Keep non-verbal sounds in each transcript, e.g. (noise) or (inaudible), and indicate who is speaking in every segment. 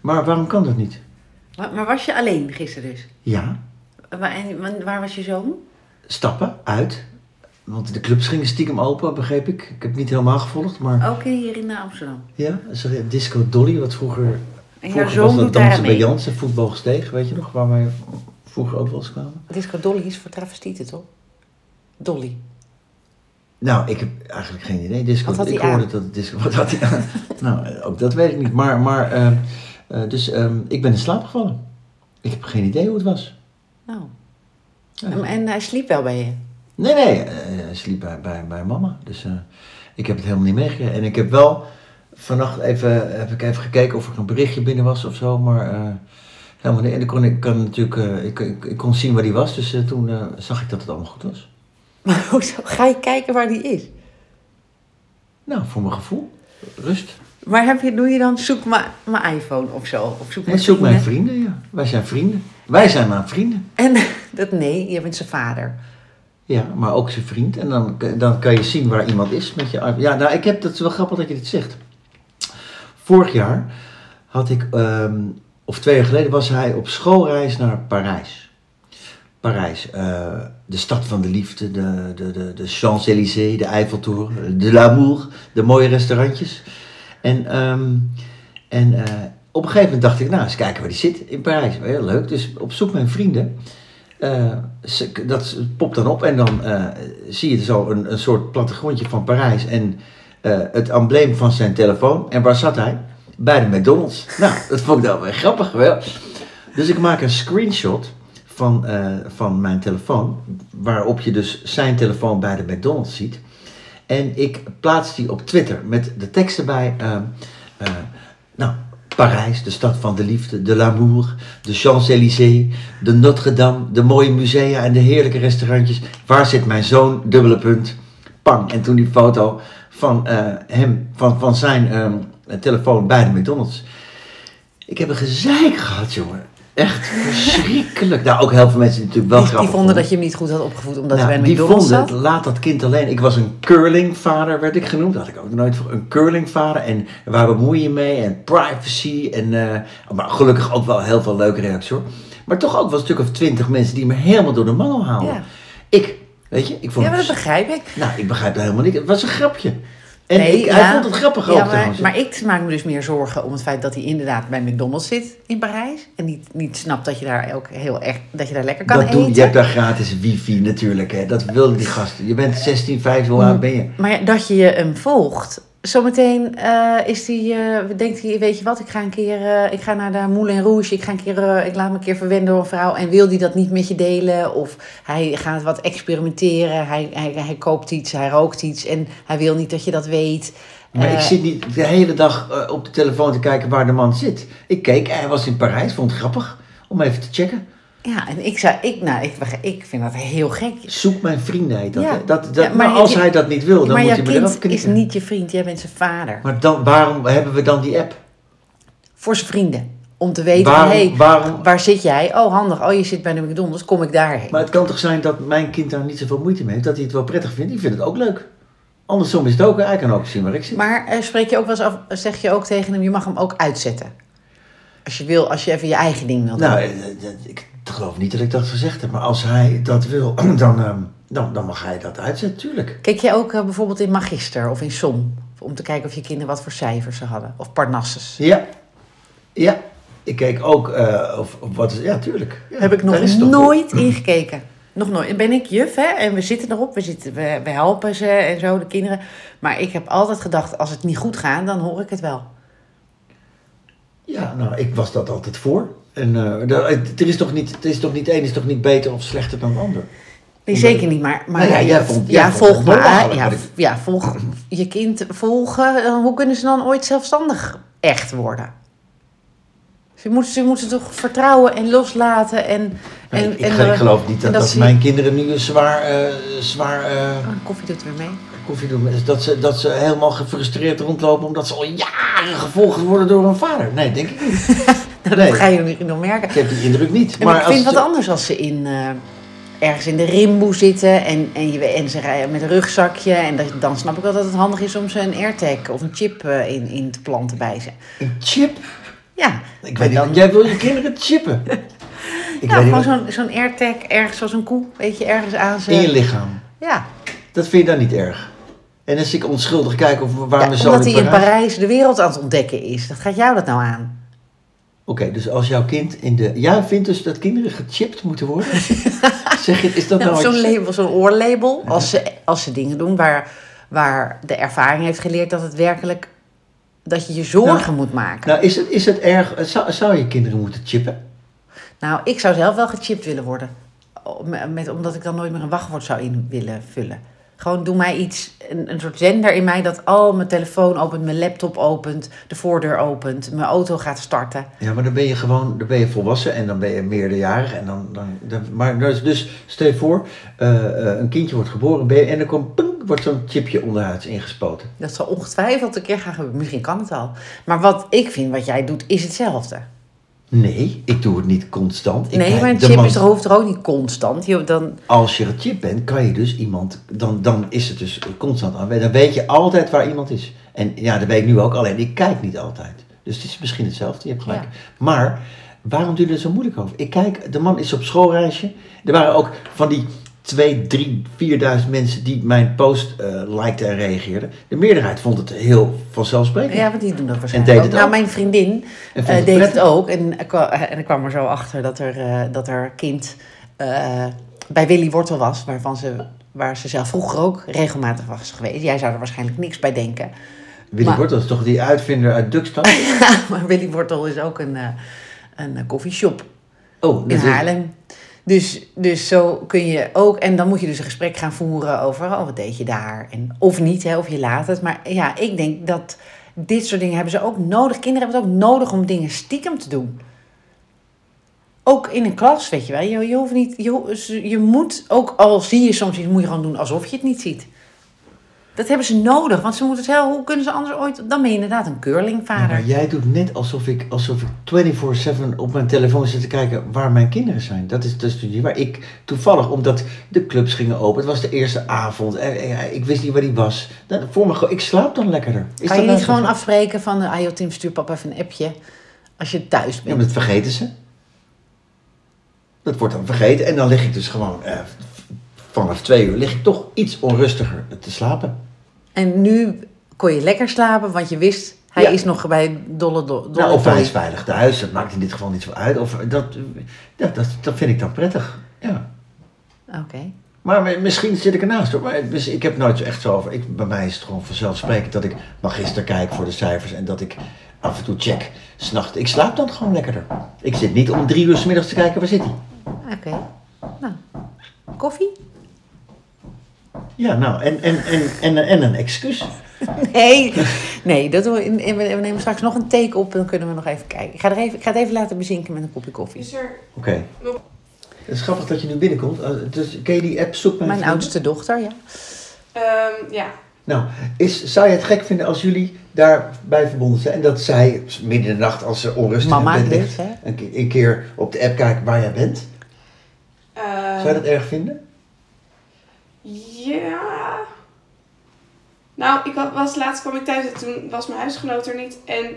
Speaker 1: Maar waarom kan dat niet?
Speaker 2: Maar, maar was je alleen gisteren dus?
Speaker 1: Ja,
Speaker 2: Waar, en, wa- waar was je zoon?
Speaker 1: stappen uit. Want de clubs gingen stiekem open, begreep ik. Ik heb niet helemaal gevolgd, maar
Speaker 2: Ook hier in eh, Amsterdam.
Speaker 1: ja, ze hadden Disco Dolly, wat vroeger.
Speaker 2: En jouw
Speaker 1: vroeger
Speaker 2: zoon
Speaker 1: was
Speaker 2: doet
Speaker 1: dat
Speaker 2: daar
Speaker 1: dansen bij
Speaker 2: mee.
Speaker 1: Jansen, voetbalsteeg, weet je nog, waar wij vroeger ook wel eens kwamen.
Speaker 2: Disco Dolly is voor travestieten, toch? Dolly.
Speaker 1: Nou, ik heb eigenlijk geen idee. Disco,
Speaker 2: Wat had
Speaker 1: ik
Speaker 2: hij
Speaker 1: hoorde
Speaker 2: aan?
Speaker 1: dat het disco. (laughs) Wat had hij aan? nou, eh, ook dat weet ik niet. Maar, maar eh, eh, dus ehm, ik ben in slaap gevallen. Ik heb geen idee hoe het was.
Speaker 2: Nou.
Speaker 1: Ja,
Speaker 2: En, en hij sliep wel bij je.
Speaker 1: Nee, nee, eh, hij sliep bij, bij, bij mama. Dus eh, ik heb het helemaal niet meegekregen. En ik heb wel vannacht even, heb ik even gekeken of er een berichtje binnen was of zo. Maar eh, helemaal niet. En dan kon ik, kan natuurlijk, eh, ik, ik, ik kon zien waar die was. Dus eh, toen eh, zag ik dat het allemaal goed was.
Speaker 2: (laughs) Maar hoezo? Ga je kijken waar die is?
Speaker 1: Nou, voor mijn gevoel. Rust.
Speaker 2: Maar heb je, doe je dan zoek maar mijn iPhone of zo? Of zoek
Speaker 1: Ik
Speaker 2: mijn
Speaker 1: zoek mijn
Speaker 2: vrienden?
Speaker 1: vrienden, ja. Wij zijn vrienden. Wij zijn maar vrienden.
Speaker 2: En (laughs) dat nee, je bent zijn vader.
Speaker 1: Ja, maar ook zijn vriend. En dan, dan kan je zien waar iemand is met je arm. Ja, nou, ik heb, dat is wel grappig dat je dit zegt. Vorig jaar had ik, ehm, of twee jaar geleden, was hij op schoolreis naar Parijs. Parijs, eh, de stad van de liefde, de, de, de, de Champs-Élysées, de Eiffeltoren, de L'Amour, de mooie restaurantjes. En, ehm, en eh, op een gegeven moment dacht ik, nou, eens kijken waar die zit in Parijs. Heel leuk, dus op zoek mijn vrienden. Eh, ze- dat popt dan op en dan eh, zie je zo een, een soort plattegrondje van Parijs en eh, het embleem van zijn telefoon. En waar zat hij? Bij de McDonald's. Nou, dat vond ik dan weer grappig wel. Dus ik maak een screenshot van, eh, van mijn telefoon, waarop je dus zijn telefoon bij de McDonald's ziet. En ik plaats die op Twitter met de tekst erbij. eh, eh, nou, Parijs, de stad van de liefde, de l'amour, de Champs-Élysées, de Notre-Dame, de mooie musea en de heerlijke restaurantjes. Waar zit mijn zoon? Dubbele punt. Pang. En toen die foto van eh, hem, van, van zijn eh, telefoon bij de McDonald's. Ik heb een gezeik gehad, jongen. Echt verschrikkelijk. Nou, ook heel veel mensen die het natuurlijk wel
Speaker 2: Die, die
Speaker 1: grappig
Speaker 2: vonden dat je hem niet goed had opgevoed omdat
Speaker 1: nou,
Speaker 2: hij bij
Speaker 1: die
Speaker 2: McDonald's
Speaker 1: vonden,
Speaker 2: zat.
Speaker 1: het, laat dat kind alleen. Ik was een curlingvader, werd ik genoemd. Dat had ik ook nooit voor. Een curlingvader. En waar bemoei je mee? En privacy. En, eh, maar gelukkig ook wel heel veel leuke reacties hoor. Maar toch ook wel een stuk of twintig mensen die me helemaal door de mangel haalden.
Speaker 2: Ja.
Speaker 1: Ik, weet je, ik vond
Speaker 2: Ja, maar dat
Speaker 1: het...
Speaker 2: begrijp ik.
Speaker 1: Nou, ik begrijp dat helemaal niet. Het was een grapje. En
Speaker 2: Nee,
Speaker 1: ik,
Speaker 2: ja.
Speaker 1: hij vond het grappig ook
Speaker 2: ja, maar,
Speaker 1: trouwens.
Speaker 2: maar ik maak me dus meer zorgen om het feit dat hij inderdaad bij McDonald's zit in Parijs. En niet, niet snapt dat je daar ook heel echt, dat je daar lekker kan
Speaker 1: dat
Speaker 2: eten.
Speaker 1: doe, je hebt daar gratis wifi natuurlijk. Hè. Dat wilden die gasten. Je bent 16, 15, hoe
Speaker 2: Mm.
Speaker 1: oud ben je?
Speaker 2: Maar ja, dat je hem volgt. Zometeen eh, is die, eh, denkt hij, weet je wat, ik ga een keer eh, ik ga naar de Moulin Rouge. Ik, ga een keer, eh, ik laat me een keer verwennen door een vrouw. En wil die dat niet met je delen? Of hij gaat wat experimenteren. Hij, hij, hij koopt iets, hij rookt iets. En hij wil niet dat je dat weet.
Speaker 1: Maar ik
Speaker 2: Eh,
Speaker 1: zit niet de hele dag eh, op de telefoon te kijken waar de man zit. Ik keek, hij was in Parijs, vond het grappig om even te checken.
Speaker 2: Ja, en ik zou, ik, nou, ik, ik vind dat heel
Speaker 1: Oh,
Speaker 2: gek.
Speaker 1: Zoek mijn vrienden, heet dat.
Speaker 2: Ja.
Speaker 1: hè? dat, dat
Speaker 2: Ja,
Speaker 1: maar,
Speaker 2: maar
Speaker 1: als
Speaker 2: je-
Speaker 1: hij dat niet wil, dan
Speaker 2: maar
Speaker 1: moet
Speaker 2: jouw
Speaker 1: je me eraf
Speaker 2: kind is
Speaker 1: knippen.
Speaker 2: niet je vriend, jij bent zijn vader.
Speaker 1: Maar dan, waarom hebben we dan die app?
Speaker 2: Voor zijn vrienden. Om te weten,
Speaker 1: Waarom-
Speaker 2: hey,
Speaker 1: waarom-
Speaker 2: waar zit jij? Oh, handig. Oh, je zit bij de McDonald's. Kom ik daarheen?
Speaker 1: Maar het kan toch zijn dat mijn kind daar niet zoveel moeite mee heeft, dat hij het wel prettig vindt. Ik vind het ook leuk. Andersom is het ook, hij kan ook zien waar ik zit.
Speaker 2: Maar eh, spreek je ook wel eens af, zeg je ook tegen hem, je mag hem ook uitzetten. Als je wil, als je even je eigen ding wil doen.
Speaker 1: Nou, eh, eh, ik geloof niet dat ik dat gezegd heb, maar als hij dat wil, (clears throat) dan, ehm, dan, dan mag hij dat uitzetten, tuurlijk.
Speaker 2: Keek je ook eh, bijvoorbeeld in Magister of in Som? Om te kijken of je kinderen wat voor cijfers ze hadden. Of Parnassus.
Speaker 1: Ja, ja. Ik keek ook, eh, of, of wat is, ja, tuurlijk. Ja,
Speaker 2: Heb ik
Speaker 1: daar is het
Speaker 2: nog
Speaker 1: toch voor.
Speaker 2: nooit ingekeken. Nog nooit. En ben ik juf, hè? En we zitten erop. We, zitten, we, we helpen ze en zo, de kinderen. Maar ik heb altijd gedacht, als het niet goed gaat, dan hoor ik het wel.
Speaker 1: Ja, nou, ik was dat altijd voor. En eh, daar- het, er is toch niet, het is toch niet één, is toch niet beter of slechter dan de ander.
Speaker 2: Nee, zeker niet, maar... maar
Speaker 1: Nou ja, jij vond- jij
Speaker 2: ja,
Speaker 1: vond
Speaker 2: volg
Speaker 1: het
Speaker 2: maar.
Speaker 1: belachelijk,
Speaker 2: Ja,
Speaker 1: maar ik-
Speaker 2: v- ja, volg je kind volgen. eh, Hoe kunnen ze dan ooit zelfstandig echt worden? Ze moeten, ze moeten toch vertrouwen en loslaten en...
Speaker 1: Maar
Speaker 2: en
Speaker 1: Nou, ik, ik,
Speaker 2: en,
Speaker 1: ge- ik
Speaker 2: eh,
Speaker 1: geloof niet
Speaker 2: en
Speaker 1: dat, dat,
Speaker 2: ze-
Speaker 1: mijn kinderen nu een zwaar, eh, zwaar eh,
Speaker 2: Oh, koffie doet weer mee.
Speaker 1: koffie doen. Is Dat ze, dat ze helemaal gefrustreerd rondlopen omdat ze al jaren gevolgd worden door hun vader. Nee, denk ik niet.
Speaker 2: Nou,
Speaker 1: Nee.
Speaker 2: (laughs) Dat ga je nog- nog merken.
Speaker 1: Ik heb die indruk niet.
Speaker 2: Ja, Maar ik vind
Speaker 1: als
Speaker 2: het wat anders als ze in, eh, ergens in de rimboe zitten en, en, je, en ze rijden met een rugzakje. En dat- dan snap ik wel dat het handig is om ze een airtag of een chip eh, in, in te planten bij ze.
Speaker 1: Een chip?
Speaker 2: Ja,
Speaker 1: Ik weet niet, jij wil je kinderen
Speaker 2: (laughs)
Speaker 1: chippen. Ik
Speaker 2: Ja,
Speaker 1: weet
Speaker 2: Nou.
Speaker 1: niet,
Speaker 2: gewoon
Speaker 1: wat-
Speaker 2: zo'n zo'n airtag ergens als een koe, weet je, ergens aan
Speaker 1: in je
Speaker 2: ze.
Speaker 1: lichaam.
Speaker 2: Ja,
Speaker 1: Dat vind je dan niet erg. En als ik onschuldig kijk of waar
Speaker 2: ja
Speaker 1: mijn zoon
Speaker 2: omdat hij
Speaker 1: in
Speaker 2: in
Speaker 1: Parijs...
Speaker 2: Parijs de wereld aan het ontdekken is. Dat gaat jou dat nou aan?
Speaker 1: Oké, dus als jouw kind in de... Jij vindt dus dat kinderen gechipt moeten
Speaker 2: (laughs)
Speaker 1: worden? zeg je, is dat
Speaker 2: Ja,
Speaker 1: nou...
Speaker 2: zo'n
Speaker 1: iets-
Speaker 2: label, zo'n oorlabel, als ze, als ze dingen doen waar, waar de ervaring heeft geleerd dat het werkelijk, dat je je zorgen moet maken.
Speaker 1: Nou, is het, is het erg... Zou, zou je kinderen moeten chippen?
Speaker 2: Nou, ik zou zelf wel gechipt willen worden. Om- Met, omdat ik dan nooit meer een wachtwoord zou in willen vullen. Gewoon doe mij iets, een, een soort zender in mij dat al mijn telefoon opent, mijn laptop opent, de voordeur opent, mijn auto gaat starten.
Speaker 1: Ja, maar dan ben je gewoon... Dan ben je volwassen en dan ben je meerderjarig. En dan, dan, dan- maar dus, dus stel je voor, eh, eh, een kindje wordt geboren ben je- en dan komt... ping, wordt zo'n chipje onderhuids ingespoten.
Speaker 2: Dat zal ongetwijfeld een keer gaan gebeuren. Misschien kan het al. Maar wat ik vind wat jij doet, is hetzelfde.
Speaker 1: Nee, ik doe het niet constant. Ik
Speaker 2: nee,
Speaker 1: kijk
Speaker 2: maar een
Speaker 1: de
Speaker 2: chip
Speaker 1: man-
Speaker 2: is toch hoeft er ook niet constant. Je, dan,
Speaker 1: Als je gechipt bent, kan je dus iemand, dan, dan is het dus constant aanwezig. Dan weet je altijd waar iemand is. En ja, dat weet ik nu ook, alleen ik kijk niet altijd. Dus het is misschien hetzelfde, je hebt gelijk.
Speaker 2: Ja.
Speaker 1: Maar waarom doe je er zo moeilijk over? Ik kijk, de man is op schoolreisje. Er waren ook van die 2, 3, 4000 mensen die mijn post eh likten en reageerden. De meerderheid vond het heel vanzelfsprekend.
Speaker 2: ja, want die doen dat waarschijnlijk
Speaker 1: deed
Speaker 2: ook.
Speaker 1: het
Speaker 2: Nou,
Speaker 1: ook.
Speaker 2: mijn vriendin
Speaker 1: En vond
Speaker 2: eh
Speaker 1: het
Speaker 2: deed het
Speaker 1: prettig.
Speaker 2: ook. En, ik kwa- eh, en ik kwam er zo achter dat er, eh, dat er kind eh, bij Willy Wortel was, waarvan ze, waar ze zelf vroeger ook regelmatig was geweest. Jij zou er waarschijnlijk niks bij denken. (laughs)
Speaker 1: Willy
Speaker 2: maar-
Speaker 1: Wortel is toch die uitvinder uit
Speaker 2: (laughs)
Speaker 1: Duckstad?
Speaker 2: maar Willy Wortel is ook een, eh, een eh, koffieshop
Speaker 1: Oh, dat
Speaker 2: in
Speaker 1: is-
Speaker 2: Haarlem. Dus, dus zo kun je ook. En dan moet je dus een gesprek gaan voeren over. Oh, wat deed je daar? En, of niet, hè, of je laat het. Maar ja, ik denk dat dit soort dingen hebben ze ook nodig. Kinderen hebben het ook nodig om dingen stiekem te doen. Ook in een klas, weet je wel. Je, je hoeft niet. Je, ho- ze- je moet ook al zie je soms iets, moet je gewoon doen alsof je het niet ziet. Dat hebben ze nodig, want ze moeten zelf. Hoe kunnen ze anders ooit? Dan ben je inderdaad een
Speaker 1: Ja,
Speaker 2: curlingvader.
Speaker 1: maar jij doet net alsof ik, alsof ik 24-7 op mijn telefoon zit te kijken waar mijn kinderen zijn. Dat is dus niet waar. Ik, toevallig, omdat de clubs gingen open, het was de eerste avond, en, en, en ik wist niet waar die was. Dan, voor me, gewoon- ik slaap dan lekkerder. Is
Speaker 2: kan je
Speaker 1: nou
Speaker 2: niet
Speaker 1: zo?
Speaker 2: gewoon afspreken van, ah joh Tim, stuur papa even een appje als je thuis
Speaker 1: Ja,
Speaker 2: bent?
Speaker 1: maar dat vergeten ze. Dat wordt dan vergeten en dan lig ik dus gewoon eh, vanaf twee uur lig ik toch iets onrustiger te slapen.
Speaker 2: En nu kon je lekker slapen, want je wist, hij
Speaker 1: Ja.
Speaker 2: is nog bij Dolle Dolle.
Speaker 1: Nou, of hij is veilig thuis, dat maakt in dit geval niet zo uit. Of, dat, ja, dat, dat vind ik dan prettig. Ja.
Speaker 2: Oké.
Speaker 1: Maar mi- misschien zit ik ernaast hoor. Maar het is- ik heb nooit zo echt zo over. Ik, bij mij is het gewoon vanzelfsprekend dat ik magister kijk voor de cijfers. En dat ik af en toe check. S'nacht. Ik slaap dan gewoon lekkerder. Ik zit niet om drie uur 's middags te kijken waar zit hij.
Speaker 2: Oké. Nou, koffie? (laughs)
Speaker 1: Ja, nou. En, en, en, en, en een excuus.
Speaker 2: Nee, nee dat doen we, in- in- we nemen straks nog een take op en dan kunnen we nog even kijken. Ik ga, er even, ik ga het even laten bezinken met een kopje koffie.
Speaker 3: Is er
Speaker 1: Oké. Het is grappig dat je nu binnenkomt. Eh, Dus, ken je die app Zoek Mijn,
Speaker 2: Mijn
Speaker 1: Vrienden?
Speaker 2: oudste dochter, ja.
Speaker 3: ehm, ja.
Speaker 1: Nou, is, zou je het gek vinden als jullie daarbij verbonden zijn? En dat zij midden in de nacht als ze onrustig
Speaker 2: Mama
Speaker 1: in bed
Speaker 2: dus,
Speaker 1: ligt...
Speaker 2: hè?
Speaker 1: Een, ke- een keer op de app kijken waar jij bent?
Speaker 3: ehm,
Speaker 2: Eh,
Speaker 1: Zou je dat erg vinden?
Speaker 3: Ja. Nou, ik wa- was laatst kwam ik thuis en toen was mijn huisgenoot er niet. En,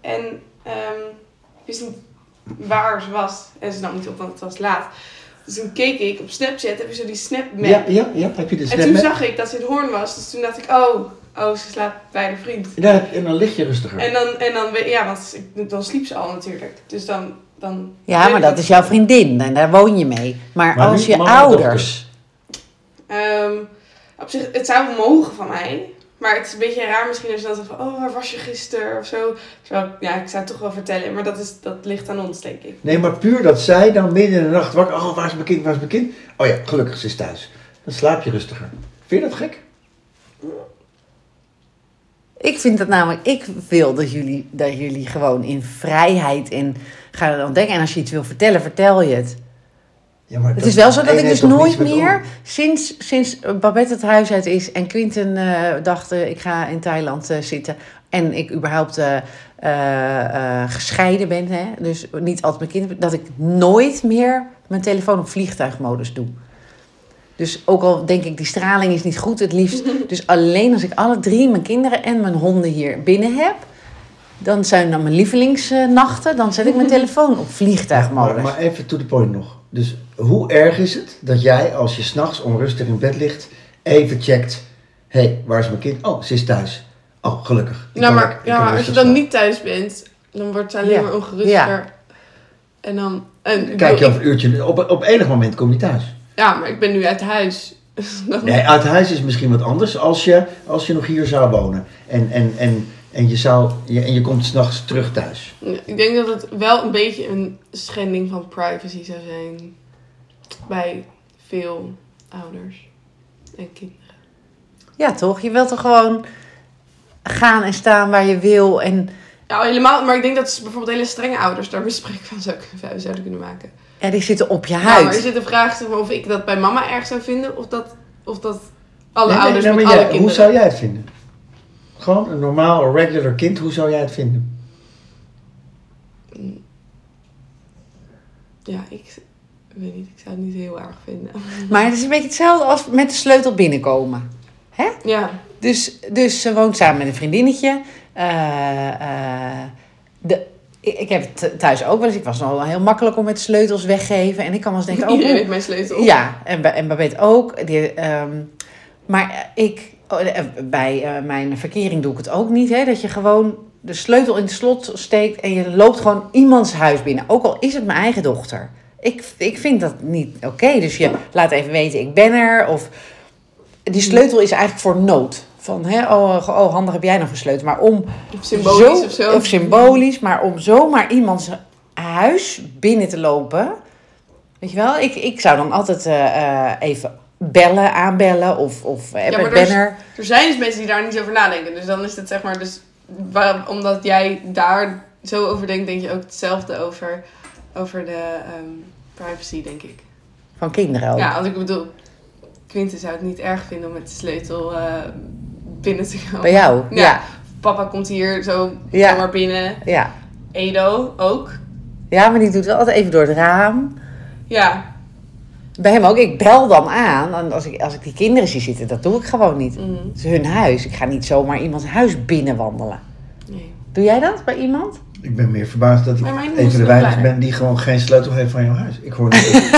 Speaker 3: en ehm, ik wist niet waar ze was. En ze nam niet op, want het was laat. Dus toen keek ik op Snapchat, heb je zo die Snapmap.
Speaker 1: Ja, ja, ja, heb je de
Speaker 3: en toen
Speaker 1: snapmap?
Speaker 3: zag ik dat ze in Hoorn was. Dus toen dacht ik, oh, oh ze slaapt bij de vriend.
Speaker 1: En, daar heb- en dan lig je rustiger.
Speaker 3: En dan, en dan, we- ja, want ik- dan sliep ze al natuurlijk. Dus dan... dan
Speaker 2: Ja,
Speaker 3: weet
Speaker 2: maar
Speaker 3: ik
Speaker 2: dat is jouw vriendin en daar woon je mee. Maar,
Speaker 1: Maar
Speaker 2: als
Speaker 1: nu
Speaker 2: je
Speaker 1: mama en
Speaker 2: ouders...
Speaker 3: Ehm, op zich, het zou mogen van mij. Maar het is een beetje raar misschien als je dan zegt van... Oh, waar was je gisteren? Of zo. Terwijl, ja, ik zou het toch wel vertellen. Maar dat, is, dat ligt aan ons, denk ik.
Speaker 1: Nee, maar puur dat zij dan midden in de nacht wakker... Oh, waar is mijn kind, waar is mijn kind? Oh ja, gelukkig, ze is thuis. Dan slaap je rustiger. Vind je dat gek?
Speaker 2: Ik vind dat namelijk, ik wil dat jullie, dat jullie gewoon in vrijheid en gaan ontdekken. En als je iets wil vertellen, vertel je het.
Speaker 1: Ja, maar
Speaker 2: Het
Speaker 1: dat-
Speaker 2: is wel zo
Speaker 1: één
Speaker 2: dat ik
Speaker 1: heeft
Speaker 2: dus
Speaker 1: toch niets
Speaker 2: nooit
Speaker 1: met
Speaker 2: meer,
Speaker 1: elkaar.
Speaker 2: sinds, sinds Babette het huis uit is en Quinten eh, dacht eh, ik ga in Thailand eh, zitten. En ik überhaupt eh, eh, eh, gescheiden ben, hè, dus niet altijd mijn kinderen. Dat ik nooit meer mijn telefoon op vliegtuigmodus doe. Dus ook al denk ik, die straling is niet
Speaker 1: (laughs)
Speaker 2: goed het liefst. Dus alleen als ik alle drie mijn kinderen en mijn honden hier binnen heb, Dan zijn dan mijn lievelingsnachten. Dan zet ik
Speaker 1: (laughs)
Speaker 2: mijn telefoon op
Speaker 1: Maar,
Speaker 2: vliegtuigmodus.
Speaker 1: maar even to the point nog. Dus hoe erg is het dat jij, als je s'nachts onrustig in bed ligt, even checkt: hé, hey, waar is mijn kind? Oh, ze is thuis. Oh, gelukkig. Ik kan-
Speaker 3: Nou, maar
Speaker 1: ik kan
Speaker 3: ja, als je
Speaker 1: rustig
Speaker 3: dan
Speaker 1: slapen.
Speaker 3: niet thuis bent, dan wordt het alleen
Speaker 2: Ja.
Speaker 3: maar ongeruster. En dan... En, ik
Speaker 1: Kijk je
Speaker 3: bedoel,
Speaker 1: over een uurtje, op, op enig moment kom je thuis.
Speaker 3: ik- Ja, maar ik ben nu uit huis. (laughs) Dan-
Speaker 1: Nee, uit huis is misschien wat anders als je, als je nog hier zou wonen. En, en, en, en, je, zou, je, en je komt s'nachts terug thuis.
Speaker 3: Ik denk dat het wel een beetje een schending van privacy zou zijn. Bij veel ouders en kinderen.
Speaker 2: Ja, toch? Je wilt er gewoon gaan en staan waar je wil. En
Speaker 3: Ja, helemaal. Maar ik denk dat ze bijvoorbeeld hele strenge ouders daar misbruik van zou kunnen- zouden kunnen maken.
Speaker 2: ja, die zitten op je
Speaker 3: Ja, maar
Speaker 2: huid.
Speaker 3: Nou, is het een vraag zeg maar, of ik dat bij mama erg zou vinden? Of dat, of dat alle
Speaker 1: Nee, nee,
Speaker 3: ouders
Speaker 1: nee, maar
Speaker 3: met
Speaker 1: jij-
Speaker 3: alle kinderen...
Speaker 1: Hoe zou jij het vinden? Gewoon een normaal, regular kind, hoe zou jij het vinden?
Speaker 3: Ja, ik ik weet niet. Ik zou het niet heel erg vinden. (laughs)
Speaker 2: Maar het is een beetje hetzelfde als met de sleutel binnenkomen. Hè?
Speaker 3: Ja.
Speaker 2: Dus, dus ze woont samen met een vriendinnetje. Eh, eh, de, ik, ik heb het thuis ook wel eens. Ik was nogal heel makkelijk om met sleutels weggeven. En ik kan wel eens
Speaker 3: (laughs)
Speaker 2: denken... Oh,
Speaker 3: Iedereen
Speaker 2: oeh.
Speaker 3: heeft mijn sleutel.
Speaker 2: Ja, en, Ba- en Babette ook. Die, ehm, maar eh, ik, oh, eh, bij eh, mijn verkering doe ik het ook niet. Hè? Dat je gewoon de sleutel in het slot steekt en je loopt gewoon iemands huis binnen. Ook al is het mijn eigen dochter. Ik, ik vind dat niet oké. Dus je laat even weten, ik ben er. Of die sleutel is eigenlijk voor nood. Van, hè, oh, eh, oh, handig heb jij nog een sleutel. Maar om
Speaker 3: Of symbolisch
Speaker 2: zo-
Speaker 3: of zo.
Speaker 2: Of symbolisch, maar om zomaar iemands huis binnen te lopen. Weet je wel, ik, ik zou dan altijd eh, eh, even bellen, aanbellen of, of eh,
Speaker 3: maar
Speaker 2: met
Speaker 3: er is-
Speaker 2: banner.
Speaker 3: Er zijn dus mensen die daar niet over nadenken. Dus dan is het zeg maar, dus waar- omdat jij daar zo over denkt, denk je ook hetzelfde over, over de ehm, privacy, denk ik.
Speaker 2: Van kinderen
Speaker 1: Oh.
Speaker 2: ook.
Speaker 3: Ja, want ik bedoel, Quinten zou het niet erg vinden om met de sleutel eh, binnen te komen.
Speaker 2: Bij jou?
Speaker 3: Ja.
Speaker 2: Ja.
Speaker 3: Papa komt hier zo
Speaker 2: Ja.
Speaker 3: zomaar binnen.
Speaker 2: ja.
Speaker 3: Edo ook.
Speaker 2: Ja, maar die doet wel altijd even door het raam.
Speaker 3: Ja.
Speaker 2: Bij hem ook. Ik bel dan aan. En als ik, als ik die kinderen zie zitten, dat doe ik gewoon niet.
Speaker 3: Mm.
Speaker 2: Het is hun huis. Ik ga niet zomaar iemands huis binnenwandelen.
Speaker 3: Nee.
Speaker 2: Doe jij dat bij iemand?
Speaker 1: Ik ben meer verbaasd dat ik
Speaker 3: Maar mijn
Speaker 1: een
Speaker 3: moest
Speaker 1: van de
Speaker 3: nog
Speaker 1: weinigen
Speaker 3: kleiner.
Speaker 1: ben die gewoon geen sleutel heeft van jouw huis. Ik
Speaker 3: (laughs)
Speaker 1: hoor niet.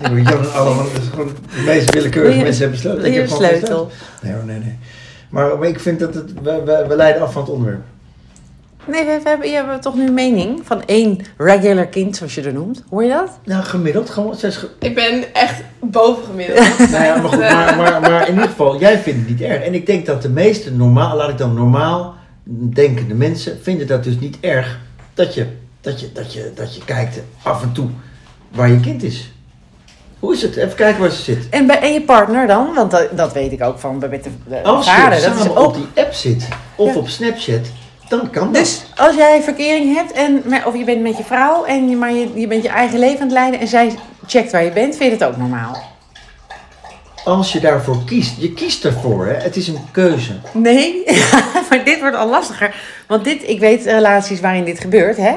Speaker 1: ik hoor Jan en allemaal, dat is gewoon de meest willekeurige
Speaker 2: Wil je-
Speaker 1: mensen hebben sleutel.
Speaker 2: wil je
Speaker 1: heb
Speaker 2: een
Speaker 1: gewoon geen
Speaker 2: sleutel?
Speaker 1: Nee hoor, nee, nee. Maar, maar ik vind dat het, we, we, we leiden af van het onderwerp.
Speaker 2: Nee, we, we hebben, je hebt toch nu een mening van één regular kind, zoals je er noemt. Hoor je dat?
Speaker 1: Nou, gemiddeld gewoon. Zes ge-
Speaker 3: Ik ben echt Eh,
Speaker 1: (laughs)
Speaker 3: bovengemiddeld.
Speaker 1: Nou ja, maar
Speaker 2: (laughs)
Speaker 1: goed, maar, maar, maar in ieder geval, jij vindt het niet erg. En ik denk dat de meeste normaal, laat ik dan normaal denkende mensen, vinden dat dus niet erg dat je, dat je, dat je, dat je kijkt af en toe waar je kind is. Hoe is het? Even kijken waar ze zit.
Speaker 2: En, bij, en je partner dan? Want dat, dat weet ik ook van bij met de, de
Speaker 1: Als je
Speaker 2: vader. Dat
Speaker 1: samen
Speaker 2: is
Speaker 1: op
Speaker 2: ook,
Speaker 1: die app zit of
Speaker 2: Ja.
Speaker 1: op Snapchat, dan kan dat.
Speaker 2: dus als jij verkering hebt, en, maar- of je bent met je vrouw, en, je- maar je, je bent je eigen leven aan het leiden en zij checkt waar je bent, vind je dat ook normaal?
Speaker 1: Als je daarvoor kiest, je kiest ervoor, hè? het is een keuze.
Speaker 2: Nee, (laughs) maar dit wordt al lastiger. Want dit, ik weet eh, relaties waarin dit gebeurt, hè?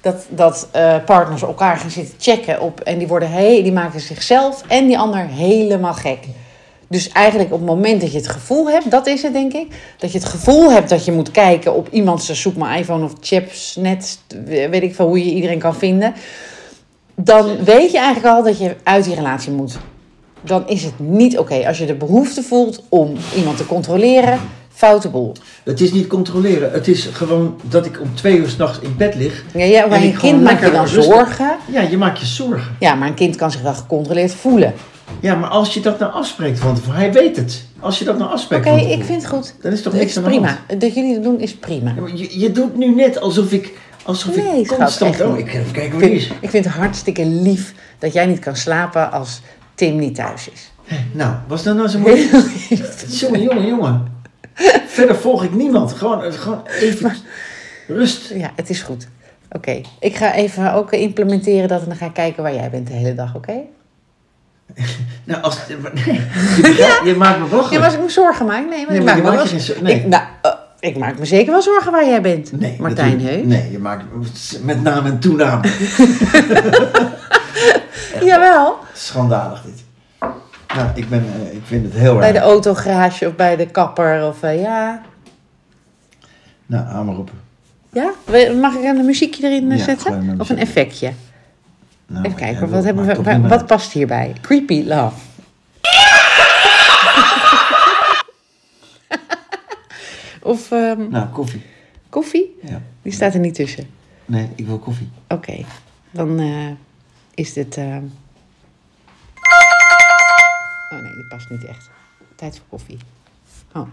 Speaker 2: Dat, dat eh, partners elkaar gaan zitten checken op. En die, worden he- die maken zichzelf en die ander helemaal gek. Dus eigenlijk op het moment dat je het gevoel hebt, dat is het denk ik. Dat je het gevoel hebt dat je moet kijken op iemands zoek mijn iPhone of chips, net weet ik veel hoe je iedereen kan vinden. Dan weet je eigenlijk al dat je uit die relatie moet dan is het niet oké als je de behoefte voelt om iemand te controleren. Foute boel.
Speaker 1: Het is niet controleren, het is gewoon dat ik om twee uur s'nachts in bed lig.
Speaker 2: Ja, ja,
Speaker 1: En
Speaker 2: maar
Speaker 1: ik
Speaker 2: een
Speaker 1: gewoon
Speaker 2: kind maakt je
Speaker 1: lekker
Speaker 2: dan
Speaker 1: rustig.
Speaker 2: zorgen.
Speaker 1: Ja, je maakt je zorgen.
Speaker 2: Ja, maar een kind kan zich wel gecontroleerd voelen.
Speaker 1: Ja, maar als je dat nou afspreekt van tevoren, hij weet het. Als je dat nou afspreekt
Speaker 2: Oké,
Speaker 1: van tevoren,
Speaker 2: ik vind het goed.
Speaker 1: dan is toch
Speaker 2: Het
Speaker 1: niks
Speaker 2: is
Speaker 1: aan de hand.
Speaker 2: prima. Dat jullie dat doen is prima.
Speaker 1: Ja, maar je, je doet nu net alsof ik, alsof
Speaker 2: Nee,
Speaker 1: ik
Speaker 2: schat,
Speaker 1: constant...
Speaker 2: echt niet.
Speaker 1: oh, ik ga even kijken
Speaker 2: Ik
Speaker 1: hoe die
Speaker 2: vind,
Speaker 1: is.
Speaker 2: ik vind het hartstikke lief dat jij niet kan slapen als Tim niet thuis
Speaker 1: (laughs)
Speaker 2: is.
Speaker 1: Nou, was dat nou zo moeilijk?
Speaker 2: (laughs)
Speaker 1: jongen, jongen, jongen. Verder volg ik niemand. Gewoon, eh, gewoon even rust.
Speaker 2: Ja, het is goed. Oké, ik ga even ook implementeren dat en dan ga ik kijken waar jij bent de hele dag, oké?
Speaker 1: Nou, als, (laughs) nee, je, begrijpt- je maakt me
Speaker 2: (laughs) Ja,
Speaker 1: belachelijk.
Speaker 2: maar als ik me zorgen maak, nee, maar
Speaker 1: Nee, maar
Speaker 2: ik maak
Speaker 1: je
Speaker 2: me
Speaker 1: maakt
Speaker 2: wel
Speaker 1: je geen zorgen. Nee.
Speaker 2: Ik, nou, eh, ik maak me zeker wel zorgen waar jij bent,
Speaker 1: Nee,
Speaker 2: Martijn
Speaker 1: natuurlijk-
Speaker 2: Heus.
Speaker 1: Nee, je maakt me- met naam en toenaam.
Speaker 2: Jawel.
Speaker 1: Schandalig dit. Nou, ik, ben, eh, ik vind het heel
Speaker 2: Bij
Speaker 1: erg.
Speaker 2: de autogarage of bij de kapper of eh, ja.
Speaker 1: Nou, aan maar op.
Speaker 2: Ja? We- Mag ik een muziekje erin eh,
Speaker 1: Ja, gewoon
Speaker 2: zetten?
Speaker 1: een
Speaker 2: of een
Speaker 1: muziekje.
Speaker 2: effectje?
Speaker 1: Nou,
Speaker 2: Even
Speaker 1: maar jij
Speaker 2: kijken,
Speaker 1: wil-
Speaker 2: wat, hebben
Speaker 1: maakt
Speaker 2: we,
Speaker 1: toch
Speaker 2: wa-
Speaker 1: niet meer
Speaker 2: wat past hierbij? Creepy love.
Speaker 1: (laughs)
Speaker 2: of ehm,
Speaker 1: uit. Nou, koffie.
Speaker 2: koffie?
Speaker 1: Ja.
Speaker 2: Die staat er niet tussen.
Speaker 1: Nee, ik wil koffie.
Speaker 2: Oké, dan eh, is dit... ehm, Oh nee, die past niet echt. Tijd voor koffie.
Speaker 4: (laughs)
Speaker 2: Oh.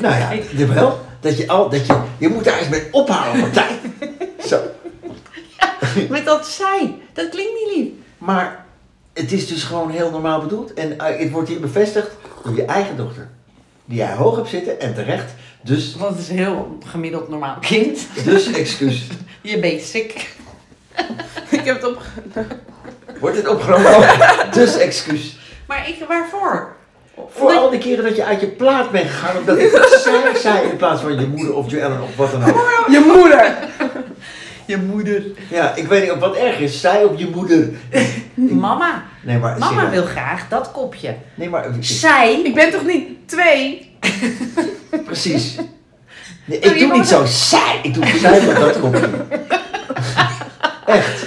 Speaker 1: Nou ja, dit wel. Dat je al, dat je, je moet daar eens mee ophouden, (laughs) partij. Zo.
Speaker 2: Met dat zij, dat klinkt niet lief.
Speaker 1: Maar het is dus gewoon heel normaal bedoeld. En eh, het wordt hier bevestigd door je eigen dochter. Die jij hoog hebt zitten en terecht. Dus,
Speaker 4: Want het is een heel gemiddeld normaal kind.
Speaker 1: dus excuus.
Speaker 4: Je basic.
Speaker 3: Ik heb het opge...
Speaker 1: Wordt het opgenomen? (laughs) Dus excuus.
Speaker 4: Maar ik, waarvoor?
Speaker 1: Voor al die keren dat je uit je plaat bent gegaan. Omdat ik zij zei in plaats van je moeder of Joellen of wat dan ook.
Speaker 3: Je moeder!
Speaker 4: (laughs) Je moeder.
Speaker 1: Ja, ik weet niet of wat erg is. Zij of je moeder.
Speaker 4: Mama.
Speaker 1: Nee, maar...
Speaker 4: Mama
Speaker 1: serieus.
Speaker 4: wil graag Mm. dat kopje.
Speaker 1: Nee, maar...
Speaker 4: Zij.
Speaker 3: Ik ben toch niet twee?
Speaker 1: Precies. Nee,
Speaker 4: Nou,
Speaker 1: ik
Speaker 4: je
Speaker 1: doe niet
Speaker 4: mag-
Speaker 1: zo zij. Ik doe zij met dat kopje. Echt.